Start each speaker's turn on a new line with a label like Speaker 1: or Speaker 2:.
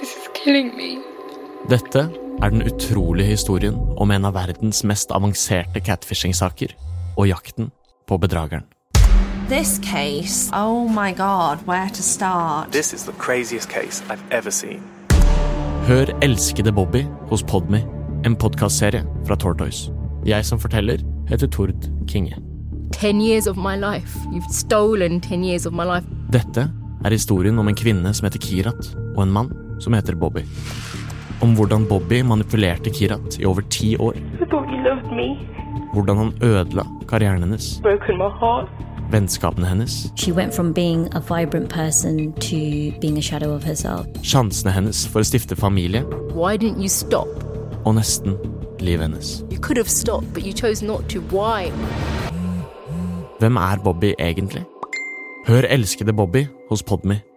Speaker 1: This is killing me.
Speaker 2: Dette er den utrolige historien om en av verdens mest avanserte catfishing-saker, og jakten på bedrageren.
Speaker 3: This case, oh my god, where to start?
Speaker 4: This is the craziest case I've ever seen.
Speaker 2: Hør Elskede Bobby hos Podme, en podkastserie fra Tortoise. Jeg som forteller, heter Tord Kinge.
Speaker 5: 10 years of my life. You've stolen 10 years of my life.
Speaker 2: Dette er historien om en kvinne som heter Kirat, og en mann som heter Bobby. Om hvordan Bobby manipulerte Kirat i over ti år.
Speaker 1: I thought you loved me.
Speaker 2: Hvordan han ødela karrieren hennes,
Speaker 1: Broken my heart.
Speaker 2: vennskapene hennes,
Speaker 6: She went from being a vibrant person to being a shadow of herself.
Speaker 2: sjansene hennes for å stifte familie,
Speaker 5: Why didn't you stop?
Speaker 2: og nesten livet hennes.
Speaker 5: You could have stopped, but you chose not to. Why?
Speaker 2: Hvem er Bobby egentlig? Hør Elskede Bobby hos Podme,